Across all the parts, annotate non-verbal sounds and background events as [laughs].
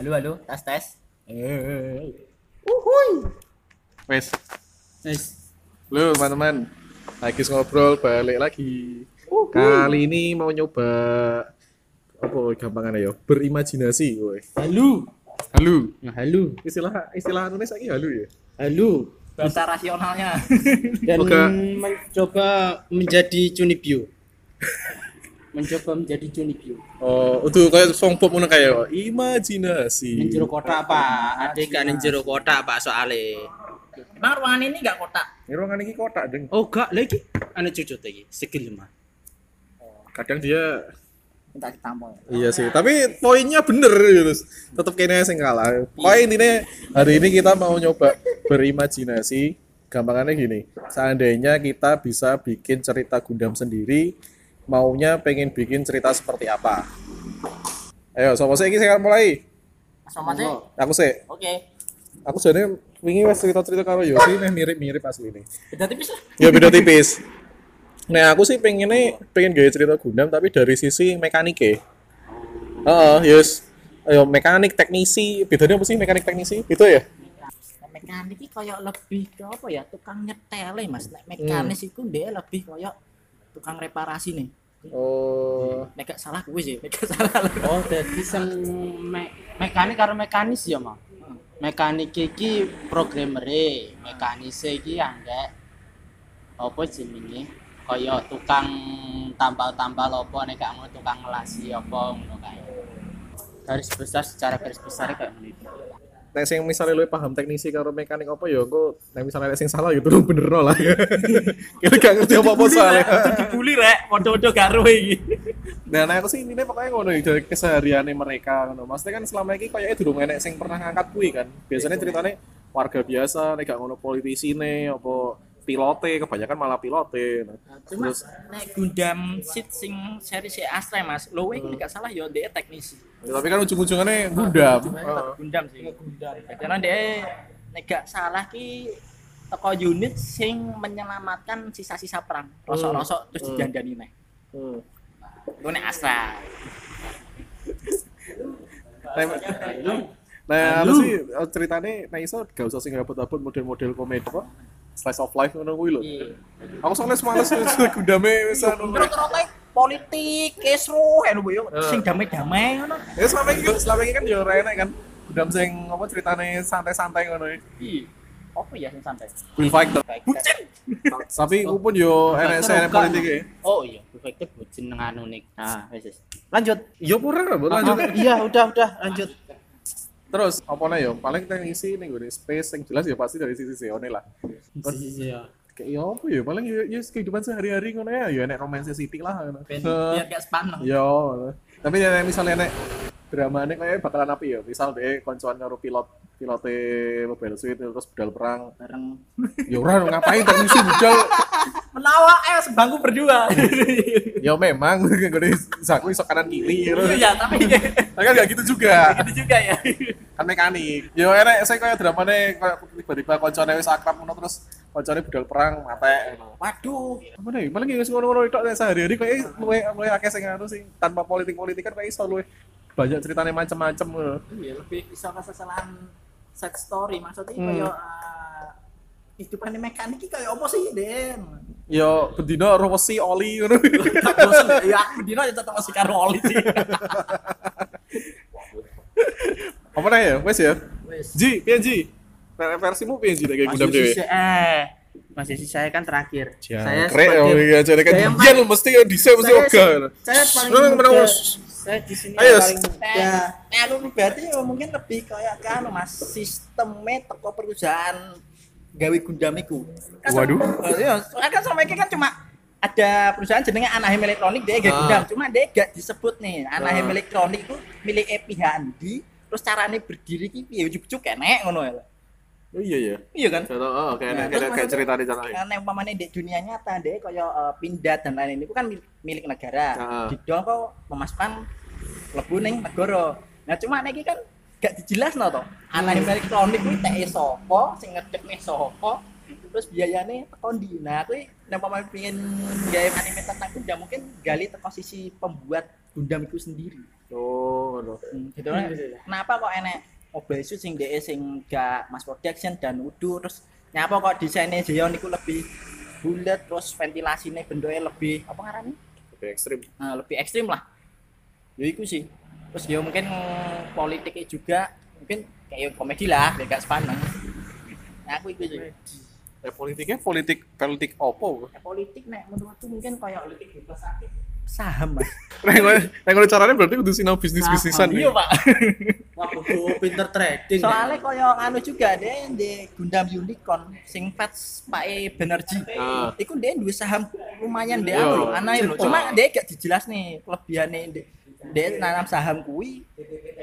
halo, tes tes. Wes, Wes. lo teman-teman, lagi ngobrol balik lagi. Kali ini mau nyoba apa gampangan ya? Berimajinasi, woi. Halo, Halu. Nah, halo, Istilah istilah Indonesia lagi halu ya. halo, Bahasa rasionalnya. dan Oke. mencoba menjadi Junibio. [laughs] mencoba menjadi Junibio. Oh, itu kayak song pop ngono kayak imajinasi. Menjero kotak pak, ada gak menjero kotak pak soale. Emang ruangan ini enggak kotak. Ini ruangan ini kotak, Deng. Oh gak lagi, anak cucu lagi, segel mah. Kadang dia Minta ditampol. Iya sih, tapi poinnya bener gitu. Tetap kayaknya sing kalah. Pokoknya intinya hari ini kita mau nyoba berimajinasi. Gampangannya gini, seandainya kita bisa bikin cerita Gundam sendiri, maunya pengen bikin cerita seperti apa? Ayo, sopo sih ini sekarang mulai. Sama sih. Aku sih, Oke. aku sebenarnya ingin wes cerita-cerita karo Yosi nih mirip-mirip asli ini. Beda tipis lah. Ya beda tipis. Nah aku sih pengennya pengen gaya cerita Gundam tapi dari sisi mekaniknya. Heeh, yes. Ayo mekanik teknisi, bedanya apa sih mekanik teknisi? Itu ya? Nek Mekanik iki koyo lebih ke apa ya? Tukang nyetele, Mas. Nek mekanis Hmm. iku dia lebih koyo tukang reparasi nih. Oh. Nek gak salah kuwi sih, nek gak salah. Oh jadi sem me- mekanik karo mekanis ya mah. Mekanik iki programmere, mekanis iki ambek apa jenenge? Kaya tukang tampal-tampal apa nek gak ngono tukang ngelasi apa ngono kae. Garis besar secara garis besar kayak ngono itu. Nek sing misalnya lu paham teknisi karo mekanik apa ya engko nek misalnya nek sing salah ya tolong bener no lah. [laughs] Kita gak ngerti apa-apa soalnya. Dibully rek, padha-padha karo iki. Dan aku sih intinya pokoknya ngono ya, dari kesehariannya mereka ngono. Maksudnya kan selama ini kayaknya durung enek sing pernah ngangkat kui kan. Biasanya ceritanya warga biasa, nek gak ngono politisi nih, apa pilote, kebanyakan malah pilote. Nah, Cuma Terus- nek Gundam Seed sing seri si Astra Mas, luwe iki Hmm. nek gak salah yo dia teknisi. tapi kan ujung-ujungannya Gundam. Oh. Heeh. Gundam sih. Gundam. Karena dia nek gak salah ki toko unit sing menyelamatkan sisa-sisa perang. Hmm. Rosok-rosok terus digandani nek. Hmm. Iku nek Astra. Nah, Nah, apa sih eh, ceritanya nah iso gak usah sing abot-abot model-model komedi kok. Slice of life ngono kuwi lho. Iya. Aku soalnya males Gundame wis [laughs] anu. Rata-rata politik, kesru, anu yo Eh. sing damai-damai ngono. Ya selama ini kan selama ini kan yo ora enak kan. Gundam sing apa ceritanya santai-santai ngono iki. Iya. Apa ya sing santai? Will Fighter. Bucin. Tapi aku pun yo enak saya politik ya. Oh iya, perfected bujin nang anu nih. Ah, Nah, wis, wis. Lanjut. Yo pura lah, lanjut. Ah, iya, udah udah lanjut. Terus apa nih yo? Paling kita ngisi nih gue space yang jelas ya pasti dari sisi Seone lah. Iya. Kayak yo apa ya? Paling yo, yo kehidupan sehari-hari ngono ya. Yo enak romance city lah. ngono. Eh, ya. Biar gak sepaneng. Yo. Tapi ya misalnya enak drama nih kayaknya bakalan api ya. Misal deh koncoan karo pilot pilote Mobile Suit terus budal perang. Bareng Yo ora ngapain teknisi budal. menawa eh sebangku berdua. Yo memang [laughs] gue saku iso kanan kiri gitu. [laughs] Iya, tapi gitu Tapi kan gak gitu juga. juga [laughs] ya. kan mekanik yo enek saya kayak dramane kayak tiba-tiba koncone wis akrab ngono terus koncone budal perang mate Waduh, apa nih malah nggak ngono-ngono itu nek sehari-hari kayak luwe luwe akeh sing anu sih tanpa politik-politik kan kayak iso luwe banyak eh. ceritanya macam-macam ngono. Iya, lebih bisa kesalahan set story maksudnya Hmm. kayak uh, kehidupan di mekanik iki kayak apa sih Den? yo bendino rosi oli [laughs] ngono Tak bosen ya aku dino ya tetap masih karo oli sih. apa nih ya wes ya Wes. ji piye ji Nah, versimu piye ji nek kayak gudam dewe eh masih saya kan terakhir. Ya, krek ya iki aja kan saya- jen mesti ya dhisik mesti ogah. saya Orang paling muda. menang, Saya di sini Ayo. paling muda. Nah, aku berarti mungkin lebih kayak ke anu Mas, sistemnya teko perusahaan gawe gundamiku. Waduh. Iya, soalnya kan sama iki kan cuma ada perusahaan jenenge Anaheim Elektronik dia gak Ah. gundam, cuma dia gak disebut nih. Anaheim Ah. Elektronik itu milik pihak Andi, terus carane berdiri ki piye ujuk-ujuk enek ngono ya. Oh iya ya. Iya kan? Contoh Nah, oh kayak terus kayak kayak maksudnya- cerita di sana. Karena umpamanya di dunia nyata deh, kaya eh, pindah dan lain-lain itu kan mil- milik negara. Ah. Di dong kok memasukkan lebu neng negara. Nah cuma nek iki kan gak dijelas no to. Anaheim elektronik kuwi teke sapa, sing ngedekne sapa, terus biayane teko ndi. Nah kuwi nek umpamanya pengen gawe anime tentang kuda mungkin gali teko sisi pembuat Gundam itu sendiri. Oh, ngono. Hmm, gitu kan. Kenapa kok enek mobile suit sing DE sing gak mass production dan udu terus nyapa kok desainnya Zeon itu lebih bulat terus ventilasinya bentuknya lebih apa ngarannya? Lebih ekstrim. Nah, lebih ekstrim lah. Ya iku sih. Terus ya mungkin mm, politiknya juga mungkin kayak ya komedi lah, biar gak sepaneng. Nah, aku iku sih. Eh, politiknya politik politik opo? [laughs] Nah, politik nek menurutku mungkin kayak politik bebas aktif saham mas Nek nek ngono caranya berarti kudu sinau bisnis-bisnisan nih. iya pak Wah, bodoh, pinter trading. soalnya koyo anu juga dia di Gundam Unicorn sing fans Pak E Benerji Ah. iku dia duwe saham lumayan dia Iya. anu ana lho cuma dia gak dijelas nih kelebihane dia- dia nanam saham kui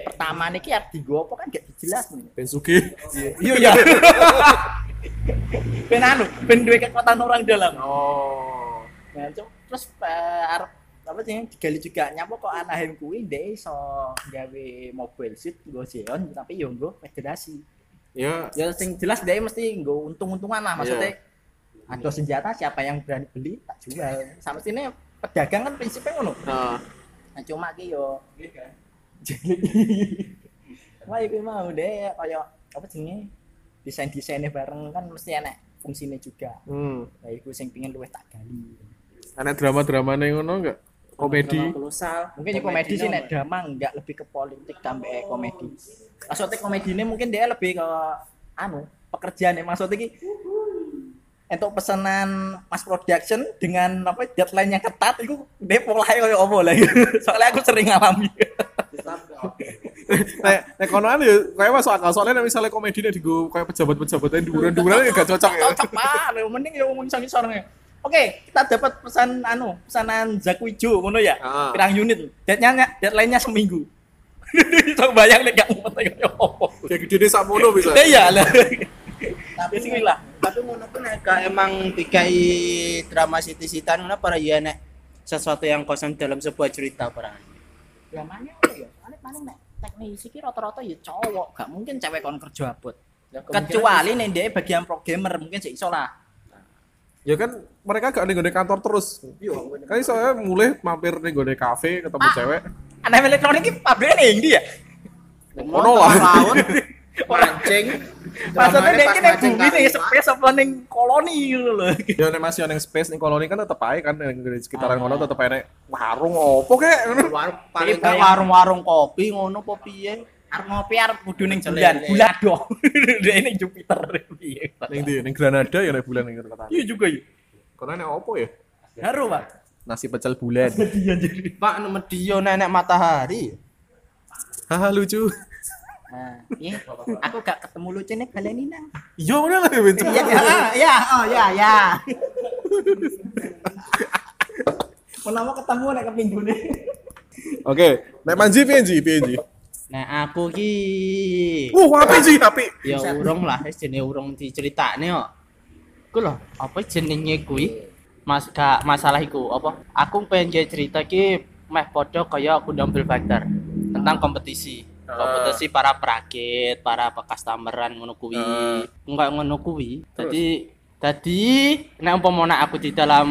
pertama niki arep digo apa kan gak dijelas nih Bensuki. iya ya ben anu ben duwe kekuatan orang dalam Oh. Nah, cuk, terus eh, arep apa sih digali juga nyapa kok Anaheim kuwi ndek iso gawe mobile suit nggo Zeon tapi yo nggo federasi. Ya, Ya sing jelas ndek mesti nggo untung-untungan lah maksudnya. Ada senjata siapa yang berani beli tak jual. Sama sini pedagang kan prinsipnya ngono. nah, Nah cuma ki yo jadi [laughs] Wah, iku mau deh kaya apa jenenge desain-desainnya bareng kan mesti enak fungsinya juga. hmm. Nah, iku sing pengin luwes tak gali. Ada drama-dramanya ngono enggak? Komedi. mungkin ya komedi sih nek drama nggak lebih ke politik tambah eh, komedi maksudnya komedi ini mungkin dia lebih ke anu pekerjaan ya maksudnya ki untuk pesanan mass production dengan apa deadline yang ketat itu dia polanya kayak apa lah [laughs] soalnya aku sering alami [laughs] Nek nek kono kan ya kayak masuk akal soalnya nek misalnya komedi nek digo kayak pejabat-pejabat yang duran-duran ya gak cocok ya. cocok banget mending ya ngomong sangi sorongnya Oke, kita dapat pesan anu, pesanan Zaku Ijo ngono ya. Ah. Pirang unit. Deadline-nya deadline-nya seminggu. [laughs] Iso bayang nek gak ngumpet kaya apa. [laughs] Kayak gede deh sakmono bisa. Eh, Iya lah. Tapi Bismillah. Tapi ngono pun nek gak emang dikai drama sitit-sitan ngono para ya nek sesuatu yang kosong dalam sebuah cerita perang. Dramanya apa ya? Soalnya paling nek teknisi ki rata-rata ya cowok, gak mungkin cewek kon kerja abot. Kecuali nih dia bagian programmer mungkin sih iso lah. Ya kan mereka gak nih kantor terus. Iya, Kan soalnya mulai mampir nih gue kafe ketemu Ah. cewek. Aneh elektronik ki pabriknya nih Indi ya. Ono lah. [laughs] Tahun mancing. Maksudnya dia ki nih mancing bumi nih kali, Pak. space apa nih koloni gitu loh. Ya nek masih yang space nih koloni kan tetep aja kan yang di sekitaran kono tetep aja nek warung opo kek. Warung paling Jadi, gak warung-warung kopi ngono apa piye? Arep ngopi arep kudu ning Jelek, bulan, jelek. bulan dong. [laughs] Dia ini Jupiter piye. [laughs] Ning di ning Granada ya nek bulan ning kota. Iya juga ya. Kono nek opo ya? Haru, Pak. Nasi pecel bulan. Iya jadi. Pak Medio nenek matahari. [laughs] Haha lucu. Nah, iya. Aku gak ketemu lucu nih baleni nang. Iya bener lah bener. ya, oh ya, ya. Menawa ketemu nek kepinggu [laughs] nih. Oke, nek manji piye Ji? Piye Ji? Nah aku ki Wah, api Ji, api. ya urung lah wis jenenge urung diceritane kok. Ku lho, apa jenenge kuwi? Mas gak masalah iku apa? Aku pengen jadi cerita ki meh padha kaya aku double factor tentang kompetisi. Ah. Kompetisi para perakit, para customeran ngono kuwi. Ah. Eh. Enggak ngono kuwi. Dadi dadi nek umpama nek aku di dalam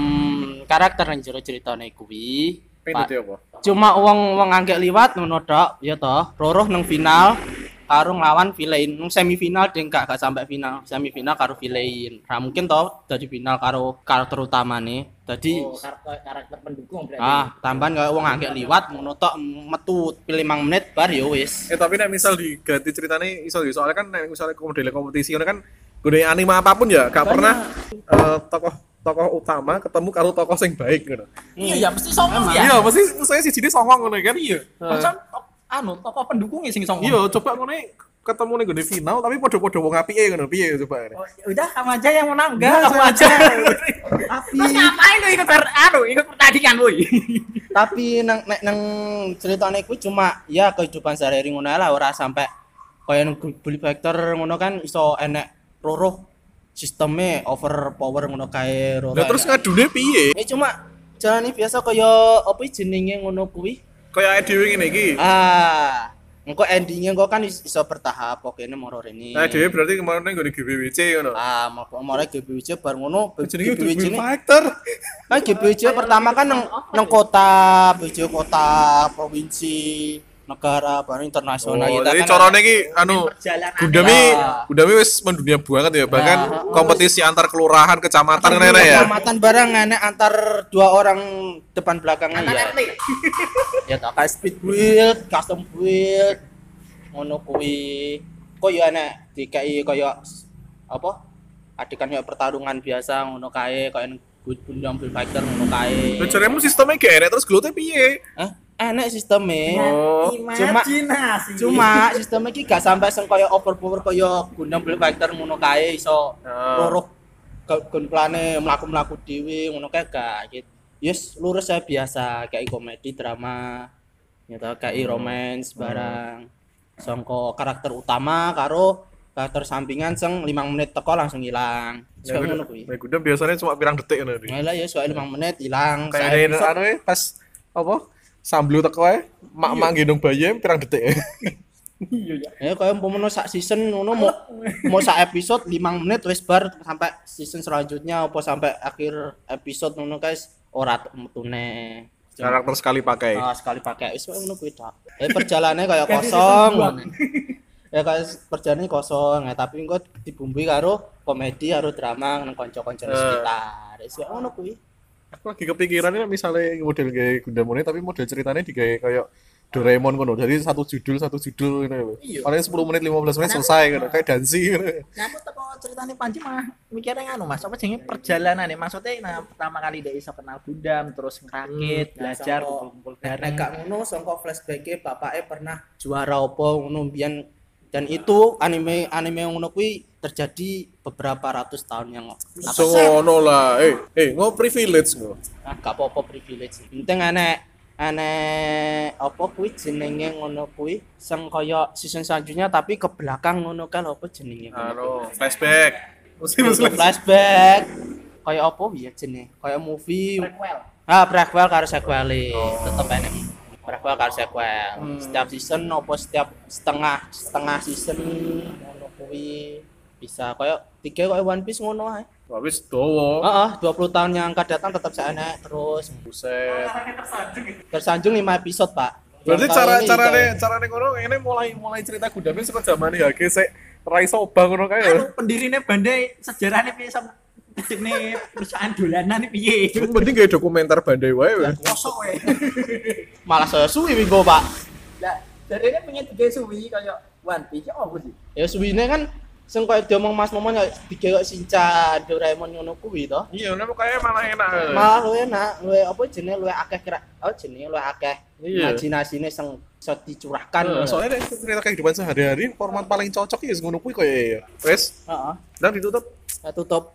karakter yang jero ceritane kuwi, Pak- Pengen apa? cuma wong wong anggek liwat ngono tok ya toh roruh nang final karo nglawan Villain nang semifinal ding gak gak sampai final semifinal karo Villain ra mungkin toh dadi final karo karakter utamane dadi karakter, karakter pendukung berarti. ah tambahan kaya wong anggek liwat ngono tok metu pilih 5 menit bar ya wis Eh tapi nek misal diganti ceritanya iso ya. soalnya kan nek misalnya model kompetisi ngono kan gede anime apapun ya gak pernah eh, tokoh tokoh utama ketemu karo tokoh sing baik ngono. Iya, ya mesti songong ya. Iya, mesti saya siji songong ngono kan. Iya. Macam tok- anu tokoh pendukungnya sing songong. Iya, coba ngono ketemu ning gede final tapi podo-podo wong apike ngono piye coba. ngene. Oh, ya udah kamu aja yang menang, enggak Enggak, kamu saya aja. [laughs] tapi Terus ngapain lu ikut per- anu, ikut pertandingan woi. tapi nang nek nang ceritane kuwi cuma ya kehidupan sehari-hari ngono ae lah ora sampai kaya nang bully factor ngono kan iso enek roruh sistemnya overpower ngono kae roruh. Lah terus enek. ngadune piye? Eh cuma jalani biasa kaya apa jenenge ngono kuwi? Kayak dhewe ngene iki. Ah, engko endingnya engko kan is- iso bertahap pokoknya moro rene Nah, dhewe berarti kemarin nang nggone GBWC ngono. ah mau moro GBWC bar ngono Jenenge udah GBWC Bill ini Factor. kan GBWJ pertama kan neng, neng kota BJ kota provinsi negara baru internasional Oh, kita jadi kan corone iki anu Perjalanan. Gundami, Nah. Gundami wis mendunia banget ya. Bahkan Ah, kompetisi antar kelurahan, kecamatan antar ngene ya. kecamatan bareng ngene antar dua orang depan belakangan ya [laughs] ya tak kayak speed build custom build ngono kuwi kok ya enek dikai kaya apa adegan kaya pertarungan biasa ngono kae kaya good bundang build fighter ngono kae Lah jaremu sistemnya gak enak terus glutnya piye? eh enek sistemnya Nah, Oh. Cuma- Imajinasi. Cuma [laughs] sistem iki gak sampai sing kaya overpower kaya Gundam Blade Fighter ngono kae iso Nah. loro gunplane mlaku-mlaku dhewe ngono kae gak gitu. Yes, lurus saya biasa kayak komedi, drama, nyata kayak Hmm. romance barang. Songko karakter utama karo karakter sampingan sing 5 menit teko langsung ilang. Ya, Kayak ngono kuwi. Gundam- Gundam biasanya cuma pirang detik ngono. Dik. Malah ya soal 5 menit ilang. Kayak saya ada besok- anu ya, pas apa? Samblu teko ae, mak-mak Iya. gendong bayi ae, pirang detik. Ya kaya umpamane sak season ngono mau mau sak episode 5 menit wis bar sampai season selanjutnya apa sampai akhir episode ngono guys ora metune. Karakter sekali pakai. Ah, sekali pakai wis wae ngono kuwi tok. Eh perjalanannya kaya kosong. ngono. ya kaya perjalanan kosong ya tapi engko dibumbui karo komedi karo drama nang kanca-kanca Eh. di sekitar. Wis wae ngono kuwi. Aku lagi kepikiran ini misalnya model kayak Gundam ini tapi model ceritanya digawe kayak Doraemon ngono. Jadi satu judul satu judul gitu loh. Paling 10 menit 15 menit selesai gitu. Kayak dansi gitu. Nah, aku teko ceritane Panji mah mikirnya ngono Mas, apa jenenge perjalanan ya. Maksudnya nah, pertama kali dia iso kenal Gundam, terus ngerakit, belajar sama- kumpul-kumpul Nek bareng. gak Nah, ngono sangka flashback-e bapake pernah juara apa ngono mbiyen dan itu anime anime ngono kuwi terjadi beberapa ratus tahun yang apa So sih? ngono lah. Eh, eh ngo privilege ngo. Nah, gak apa-apa privilege. Penting aneh aneh apa kuwi jenenge ngono kuwi sing kaya season selanjutnya tapi ke belakang ngono kan apa jenenge ngono. Halo, Anu, Iya, flashback. Mesti mesti Untuk flashback kaya apa ya jenenge kaya movie ah prequel karo sequel tetep enek prequel karo sequel setiap season apa setiap setengah setengah season ngono kuwi bisa kaya tiga kaya One Piece ngono ae habis dowo. heeh 20 tahun yang akan datang tetap saya enek terus Buset. tersanjung 5 episode pak Berarti Yang cara kali ini cara kita- cara ngono ini mulai mulai cerita Gundamnya saka zamane ya ge sik rai soba ngono kae ya. Anu pendirine bandai sejarahnya piye sama jenenge perusahaan dolanan piye. Itu penting kayak dokumenter bandai wae. weh. Kosok we. malah saya suwi minggu pak Lah, jarene pengen digawe suwi kaya One Piece ya apa sih? ya suwine kan sing kaya diomong mas momon ya digelok Shinchan Doraemon ngono kuwi toh Iya, nek kayak malah enak. eh. malah lu enak lu apa jenis lu akeh kira oh jenis lu akeh Iya. imajinasine sing iso dicurahkan Nah, soalnya nek cerita kehidupan sehari-hari format paling cocok ya ngono kuwi koyo ya. Wes, heeh Uhuh. dan ditutup. saya tutup